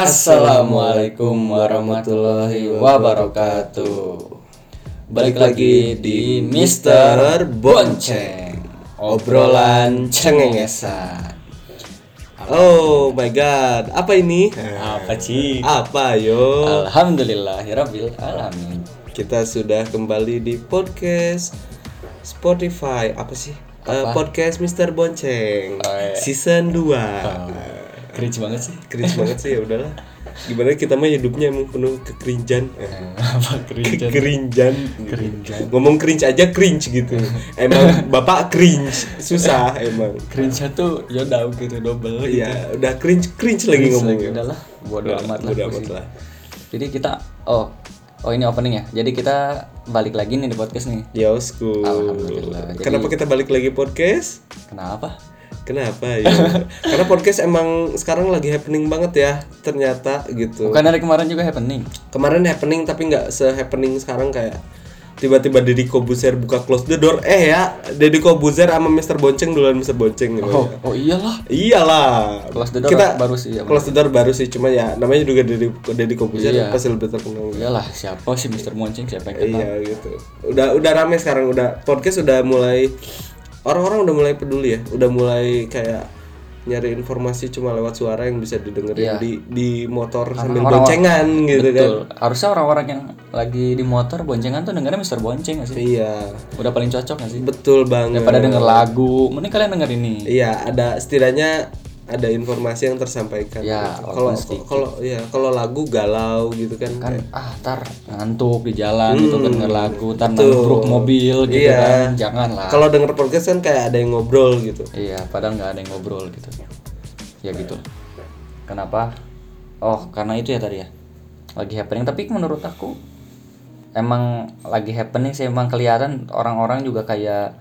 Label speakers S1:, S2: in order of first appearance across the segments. S1: Assalamualaikum warahmatullahi wabarakatuh. Balik lagi di Mister Bonceng. Obrolan cengengesan.
S2: Oh my god, apa ini?
S1: Apa sih?
S2: Apa yo?
S1: Alhamdulillah, alamin.
S2: Kita sudah kembali di podcast Spotify. Apa sih? Eh, podcast Mister Bonceng.
S1: Oh, iya. Oh.
S2: Season 2.
S1: Cringe banget sih.
S2: Cringe banget sih ya udahlah. Gimana kita mah hidupnya emang penuh kekerinjan. Eh,
S1: Apa cringe?
S2: Kekerinjan. Ngomong cringe aja cringe gitu. Emang Bapak cringe, susah emang.
S1: Cringe tuh yaudah gitu double gitu.
S2: Ya, udah cringe cringe lagi
S1: Cringe
S2: ngomongnya.
S1: udahlah, bodo
S2: iya, Udah,
S1: amat lah.
S2: bodo
S1: gua
S2: amat
S1: sih.
S2: lah.
S1: Jadi kita oh Oh ini opening ya. Jadi kita balik lagi nih di podcast nih.
S2: Yosku.
S1: Alhamdulillah. Jadi-
S2: Kenapa kita balik lagi podcast?
S1: Kenapa?
S2: Kenapa ya? Karena podcast emang sekarang lagi happening banget ya, ternyata gitu.
S1: Bukan dari kemarin juga happening.
S2: Kemarin happening tapi nggak se-happening sekarang kayak tiba-tiba Deddy Kobuzer buka close the door. Eh ya, Deddy Kobuzer sama Mr. Bonceng duluan Mr. Bonceng gitu.
S1: Oh, oh iyalah.
S2: Iyalah.
S1: Close the door baru sih, ya,
S2: Close the door baru sih, cuma ya namanya juga Deddy Deddy Kobuzer
S1: Iya.
S2: pasti lebih terkenal.
S1: Iyalah, siapa sih Mr. Moncing siapa yang kenal?
S2: Iya gitu. Udah udah rame sekarang udah podcast udah mulai orang-orang udah mulai peduli ya, udah mulai kayak nyari informasi cuma lewat suara yang bisa
S1: Iya.
S2: didengerin di di motor sambil
S1: orang-orang-
S2: boncengan gitu kan.
S1: Betul. Harusnya orang-orang yang lagi di motor boncengan tuh dengarnya Mr. Bonceng gak sih?
S2: Iya.
S1: Udah paling cocok gak sih?
S2: Betul banget.
S1: Daripada denger lagu, mending kalian denger ini.
S2: Iya, ada setidaknya ada informasi yang tersampaikan.
S1: Ya,
S2: Gitu. kalau
S1: walaupun sedikit.
S2: kalau ya kalau lagu galau gitu kan.
S1: Kan ah tar ngantuk di jalan gitu denger lagu, tar
S2: Hmm. betul.
S1: nabrak mobil gitu
S2: Iya.
S1: kan. Jangan lah.
S2: Kalau denger podcast kan kayak ada yang ngobrol gitu.
S1: Iya, padahal nggak ada yang ngobrol gitu. Ya gitu. Kenapa? Oh, karena itu ya tadi ya. Lagi happening, tapi menurut aku emang lagi happening sih emang kelihatan orang-orang juga kayak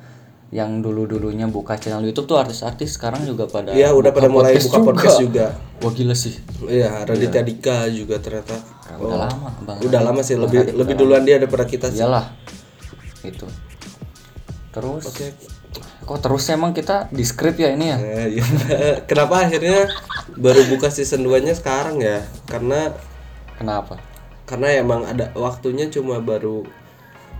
S1: yang dulu-dulunya buka channel YouTube tuh artis-artis sekarang juga pada
S2: Iya, udah pada mulai buka podcast juga.
S1: Wah gila sih.
S2: Iya, Raditya Dika juga ternyata.
S1: Udah
S2: Oh.
S1: lama, Bang.
S2: Udah lama sih lebih lebih duluan dia daripada kita sih.
S1: Iyalah. Itu. Terus Kok terus emang kita di script ya ini ya?
S2: Nah, iya. Kenapa akhirnya baru buka season 2-nya sekarang ya? Karena
S1: Kenapa?
S2: karena emang ada waktunya cuma baru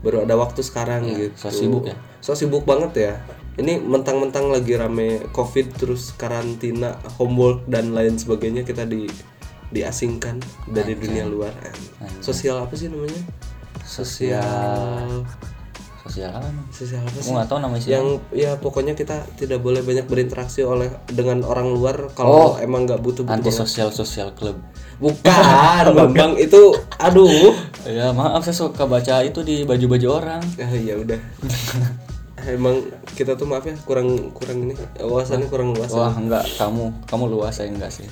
S2: baru ada waktu sekarang gitu.
S1: so sibuk ya.
S2: So sibuk banget ya. Ini mentang-mentang lagi rame Covid terus karantina, homework dan lain sebagainya kita di diasingkan dari dunia luar. Sosial apa sih namanya? Sosial
S1: Sosial apa? emang?
S2: sosial apa sih?
S1: Aku nggak tahu namanya sih.
S2: yang ya pokoknya kita tidak boleh banyak berinteraksi oleh dengan orang luar
S1: Oh.
S2: kalau emang nggak butuh butuh
S1: anti sosial sosial club
S2: bukan bambang itu aduh
S1: ya maaf saya suka baca itu di baju-baju orang
S2: Ah, ya udah emang kita tuh maaf ya kurang kurang ini wawasannya kurang luas
S1: wah enggak kamu kamu luas saya enggak sih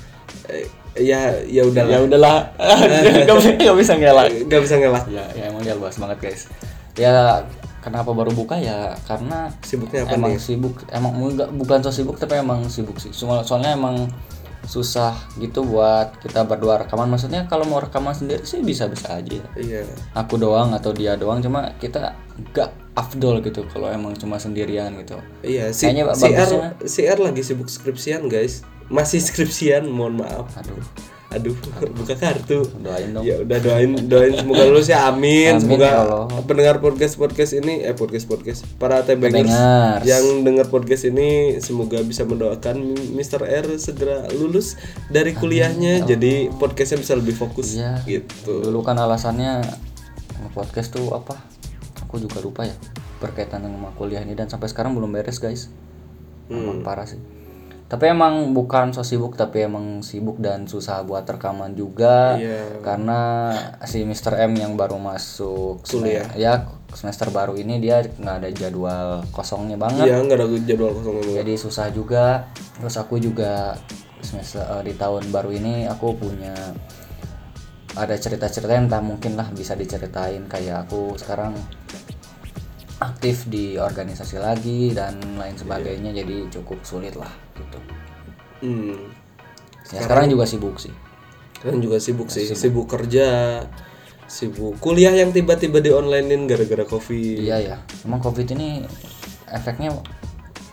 S2: Eh, ya ya udah
S1: ya udahlah nggak bisa nggak bisa ngelak
S2: nggak bisa ngelak
S1: ya, ya emang dia luas banget guys ya kenapa baru buka ya karena
S2: sibuknya apa
S1: emang
S2: nih
S1: sibuk emang enggak bukan so sibuk tapi emang sibuk sih Cuma- soalnya emang susah gitu buat kita berdua rekaman maksudnya kalau mau rekaman sendiri sih bisa bisa aja
S2: iya
S1: aku doang atau dia doang cuma kita nggak afdol gitu kalau emang cuma sendirian gitu
S2: iya si
S1: Kayaknya
S2: si R
S1: bagusnya-
S2: si R lagi sibuk skripsian guys masih skripsian mohon maaf
S1: aduh
S2: aduh buka kartu
S1: doain dong
S2: Ya udah doain doain semoga lulus ya
S1: Amin,
S2: amin, semoga
S1: ya Allah.
S2: pendengar podcast podcast ini eh podcast podcast para tebengers
S1: Tebengers.
S2: yang dengar podcast ini semoga bisa mendoakan Mr. R segera lulus dari kuliahnya jadi podcastnya bisa lebih fokus
S1: ya Iya.
S2: gitu.
S1: dulu kan alasannya podcast tuh apa aku juga lupa ya berkaitan dengan kuliah ini dan sampai sekarang belum beres guys
S2: Hmm.
S1: emang parah sih tapi emang bukan so sibuk tapi emang sibuk dan susah buat rekaman juga
S2: Iya.
S1: karena si Mr. M yang baru masuk
S2: Kuliah.
S1: sem- ya semester baru ini dia nggak ada jadwal kosongnya banget
S2: Iya nggak ada jadwal kosong banget.
S1: jadi susah juga terus aku juga semester eh, di tahun baru ini aku punya ada cerita-cerita yang tak mungkin lah bisa diceritain kayak aku sekarang aktif di organisasi lagi dan lain sebagainya jadi cukup sulit lah gitu
S2: Hmm.
S1: ya sekarang juga sibuk sih
S2: Kalian juga sibuk sih, sibuk kerja, sibuk kuliah yang tiba-tiba di onlinein gara-gara covid.
S1: iya ya emang covid ini efeknya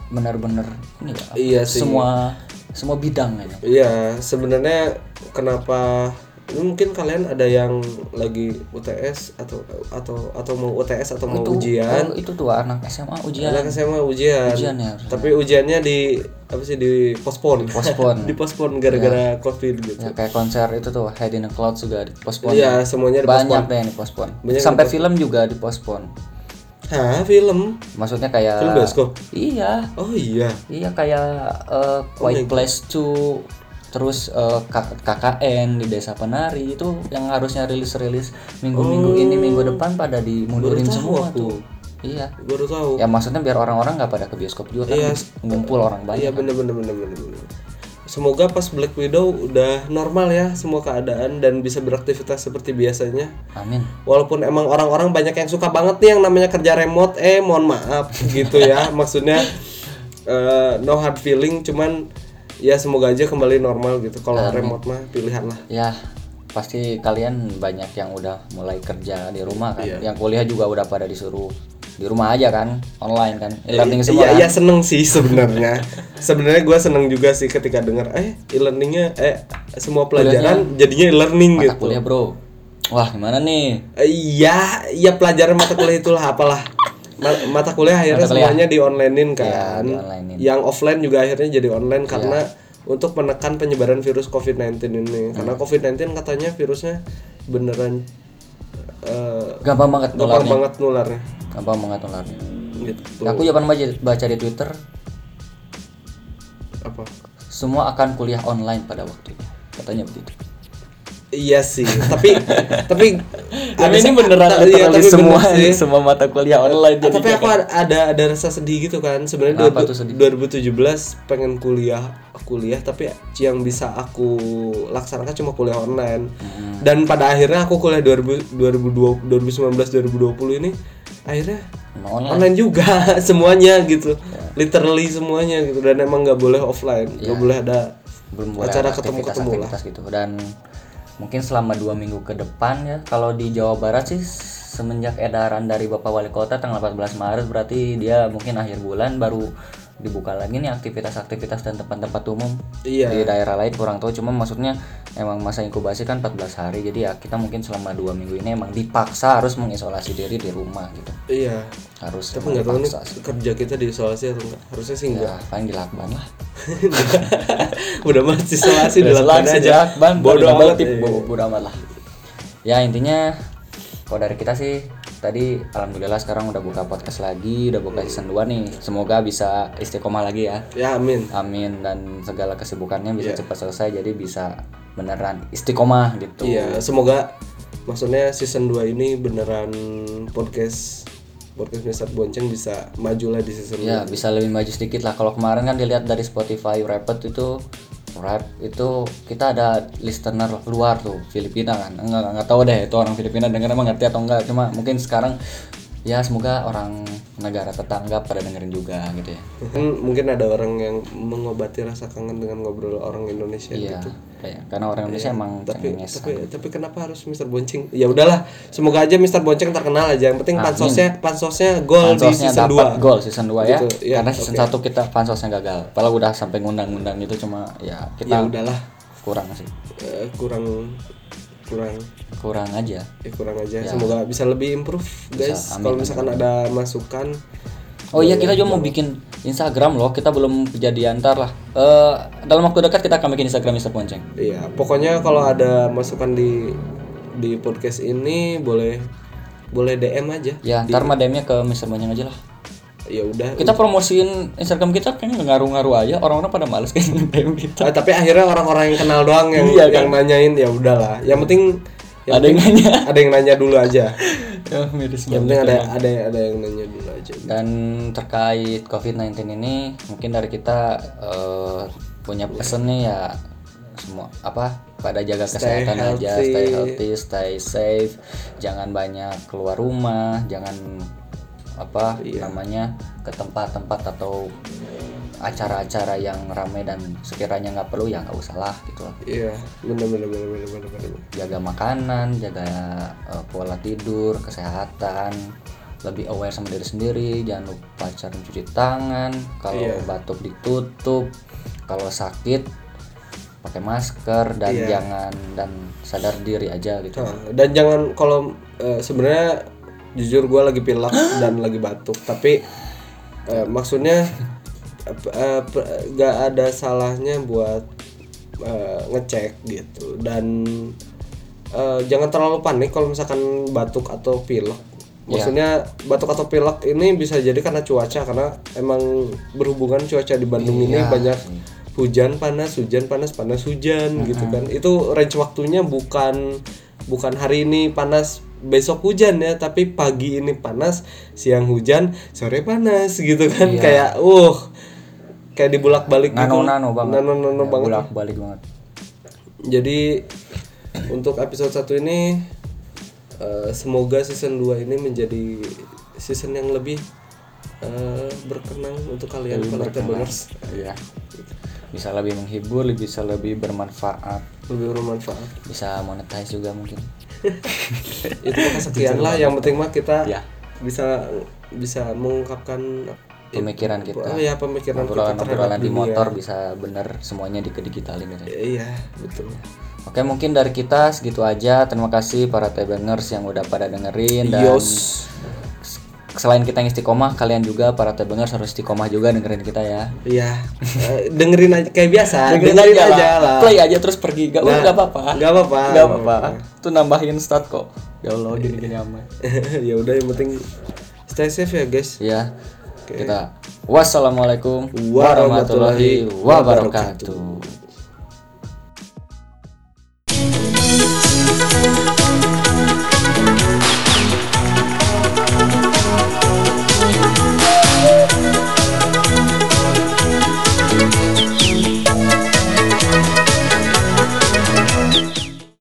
S1: benar-benar ini ya
S2: Iya sih.
S1: semua semua bidang aja
S2: Iya, sebenarnya kenapa ini mungkin kalian ada yang lagi UTS atau atau atau mau UTS atau mau
S1: itu
S2: ujian.
S1: kalau itu tuh anak SMA ujian
S2: Anak SMA ujian.
S1: Ujian ya, harusnya.
S2: Tapi ujiannya di apa sih di postpone.
S1: Dipospon.
S2: gara-gara Covid gitu.
S1: Ya, kayak konser itu tuh Head in a Cloud juga dipospon
S2: Iya, semuanya di
S1: banyak deh yang dipospon
S2: Banyak
S1: sampai film juga dipospon
S2: Hah, film.
S1: maksudnya kayak
S2: Film bioskop.
S1: iya
S2: Oh iya.
S1: iya kayak eh, Quiet Place 2 terus eh, K- KKN di Desa Penari itu yang harusnya rilis-rilis minggu-minggu ini minggu depan pada dimundurin semua
S2: Oh. aku.
S1: tuh iya
S2: Baru tahu.
S1: ya maksudnya biar orang-orang nggak pada ke bioskop juga kan ngumpul orang banyak
S2: Iya bener bener bener bener bener. Semoga pas Black Widow udah normal ya semua keadaan dan bisa beraktivitas seperti biasanya.
S1: amin
S2: Walaupun emang orang-orang banyak yang suka banget nih yang namanya kerja remote, eh mohon maaf gitu ya. Maksudnya eh, no hard feeling, cuman ya semoga aja kembali normal gitu. Kalau remote mah pilihan lah.
S1: ya pasti kalian banyak yang udah mulai kerja di rumah
S2: Iya.
S1: kan yang kuliah juga udah pada disuruh di rumah aja kan online kan e-learning semua
S2: Iya, iya seneng sih sebenarnya. sebenarnya gue seneng juga sih ketika dengar eh e-learningnya eh semua pelajaran jadinya e-learning
S1: mata
S2: gitu.
S1: kuliah bro wah gimana nih
S2: Eh, Iya, iya pelajaran mata kuliah itulah apalah. Ma- mata kuliah akhirnya semuanya di onlinein
S1: Iya,
S2: kan.
S1: di-onlinein.
S2: Yang offline juga akhirnya jadi
S1: Iya.
S2: online karena untuk menekan penyebaran virus COVID-19 ini.
S1: Hmm.
S2: Karena COVID-19 katanya virusnya beneran eh,
S1: gampang banget
S2: gampang
S1: nularnya
S2: banget nularnya.
S1: gampang banget nularnya
S2: Gitu.
S1: aku zaman baca, baca di twitter
S2: Apa?
S1: semua akan kuliah online pada waktunya katanya begitu
S2: Iya sih, tapi tapi
S1: tapi
S2: ada-
S1: ini beneran
S2: iya,
S1: literally
S2: tapi
S1: semua
S2: bener sih.
S1: semua mata kuliah online
S2: Ah,
S1: jadi
S2: tapi aku ada- ada ada rasa sedih gitu kan sebenarnya
S1: Kenapa tuh
S2: 2000 2017 pengen kuliah kuliah tapi yang bisa aku laksanakan cuma kuliah online
S1: Hmm.
S2: dan pada akhirnya aku kuliah 2000 2020 2019 2020 ini akhirnya
S1: Emang online
S2: online juga semuanya gitu
S1: Ya.
S2: literally semuanya gitu dan emang nggak boleh offline nggak boleh ada
S1: belum boleh
S2: Acara
S1: ada
S2: ketemu-ketemu
S1: aktivitas-aktivitas gitu dan mungkin selama dua minggu ke depan ya kalau di Jawa Barat sih semenjak edaran dari Bapak Wali Kota tanggal 14 Maret berarti dia mungkin akhir bulan baru dibuka lagi nih aktivitas-aktivitas dan tempat-tempat umum
S2: Iya.
S1: di daerah lain kurang tahu cuma maksudnya emang masa inkubasi kan 14 hari jadi ya kita mungkin selama dua minggu ini emang dipaksa harus mengisolasi diri di rumah gitu
S2: iya
S1: harus emang
S2: tapi nggak tahu nih
S1: dipaksa sih.
S2: kerja kita diisolasi atau enggak harusnya sih enggak
S1: ya paling dilakban lah
S2: udah mah isolasi
S1: Udah
S2: dilakukan
S1: selaksi,
S2: aja
S1: Jack, Ban. Bodo
S2: bodoh amat
S1: amat,
S2: iya.
S1: bo- bodo amat lah. Ya intinya kalau dari kita sih tadi alhamdulillah sekarang udah buka podcast lagi, udah buka season 2 nih. Semoga bisa istiqomah lagi ya.
S2: ya amin
S1: Amin dan segala kesibukannya bisa
S2: Iya.
S1: cepat selesai jadi bisa beneran istiqomah gitu.
S2: Iya, semoga maksudnya season 2 ini beneran podcast podcast Mister Bonceng bisa maju lah di season
S1: Ya, bisa lebih maju sedikit lah. Kalau kemarin kan dilihat dari Spotify Wrapped itu Wrap itu kita ada listener luar tuh Filipina kan nggak nggak tahu deh itu orang Filipina denger emang ngerti atau enggak cuma mungkin sekarang ya semoga orang negara tetangga pada dengerin juga gitu ya
S2: 2. Mungkin, Kan mungkin ada orang yang mengobati rasa kangen dengan ngobrol orang Indonesia
S1: iya kayak- karena orang Indonesia emang
S2: Iya, Tapi,
S1: cengenges
S2: tapi, tapi kenapa harus Mister Bonceng? Ya udahlah, semoga aja Mister Bonceng terkenal aja. Yang penting pansosnya pansosnya gol di
S1: pansosnya
S2: season
S1: dapat
S2: 2.
S1: gol season 2 ya
S2: Gitu, iya,
S1: karena season 1 kita pansosnya gagal padahal udah sampai ngundang-ngundang itu cuma ya
S2: Ya
S1: kita
S2: udahlah,
S1: kurang sih
S2: eh, kurang kurang
S1: kurang aja
S2: ya kurang aja.
S1: Iya.
S2: Semoga bisa lebih improve guys. Kalau misalkan ada masukan
S1: Oh iya kita juga mau bikin Instagram loh, kita belum kejadian ntar lah. Eh, dalam waktu dekat kita akan bikin Instagram Mister Ponceng.
S2: Iya, pokoknya kalau ada masukan di di podcast ini boleh boleh DM aja.
S1: Ya ntar mah DM-nya ke Mister Ponceng aja lah.
S2: Ya udah.
S1: Kita promosiin Instagram kita kayaknya nggak ngaruh-ngaruh aja, orang-orang pada males kan DM kita.
S2: Ah, tapi akhirnya orang-orang yang kenal doang yang yang nanyain ya udahlah. Yang penting yang
S1: Ada yang nanya.
S2: ada yang nanya dulu aja.
S1: Ya, miris banget.
S2: Yang penting ada ada ada yang nanya dulu aja.
S1: Dan terkait COVID-19 ini, mungkin dari kita eh, punya pesan nih ya semua apa pada jaga kesehatan aja, stay healthy, stay safe, jangan banyak keluar rumah, jangan apa namanya ke tempat-tempat atau acara-acara yang ramai dan sekiranya nggak perlu ya nggak usah lah gitu loh.
S2: Iya, bener bener bener bener bener. bener.
S1: Jaga makanan, jaga eh, pola tidur, kesehatan, lebih aware sama
S2: Iya.
S1: diri sendiri, jangan lupa cara mencuci tangan, kalau batuk ditutup, kalau sakit pakai masker dan
S2: Iya.
S1: jangan dan sadar diri aja gitu
S2: Nah, dan jangan kalau eh, sebenarnya jujur gue lagi pilek dan lagi batuk tapi eh, maksudnya eh, p- eh, p- nggak ada salahnya buat eh, ngecek gitu dan eh, jangan terlalu panik kalau misalkan batuk atau pilek
S1: Ya.
S2: maksudnya batuk atau pilek ini bisa jadi karena cuaca karena emang berhubungan cuaca di Bandung ini
S1: Iya.
S2: banyak hujan panas hujan panas panas hujan gitu kan itu range waktunya bukan bukan hari ini panas besok hujan ya tapi pagi ini panas siang hujan sore panas gitu kan
S1: Iya.
S2: kayak uh kayak dibulak balik gitu
S1: nano nano banget
S2: nano nano
S1: Ya,
S2: banget
S1: bolak-balik banget
S2: jadi untuk episode satu ini eh, semoga season 2 ini menjadi season yang lebih eh, berkenang untuk kalian para donors
S1: Iya. bisa lebih menghibur bisa lebih bermanfaat
S2: lebih bermanfaat
S1: bisa monetize juga mungkin
S2: itu mah kesekian lah yang penting mah kita
S1: Ya.
S2: bisa bisa mengungkapkan
S1: pemikiran kita
S2: oh ya pemikiran kita terhadap
S1: obrolan-obrolan di
S2: dunia
S1: motor bisa bener semuanya dikedigitalin gitu
S2: iya betul
S1: Oke mungkin dari kita segitu aja Terima kasih para T-Bangers yang udah pada dengerin Dan
S2: yos
S1: selain kita yang istiqomah Kalian juga para T-Bangers harus istiqomah juga dengerin kita ya
S2: iya Eh, dengerin aja kayak biasa dengerin, aja, lah
S1: Play aja terus pergi Gak,
S2: Nah,
S1: gak apa-apa
S2: nggak apa-apa,
S1: Gak
S2: nggak
S1: apa-apa Itu nambahin stat kok Ya Allah gini-gini amat
S2: ya udah yang penting stay safe ya guys
S1: Ya kita Wassalamualaikum
S2: Warahmatullahi
S1: warahmatullahi wabarakatuh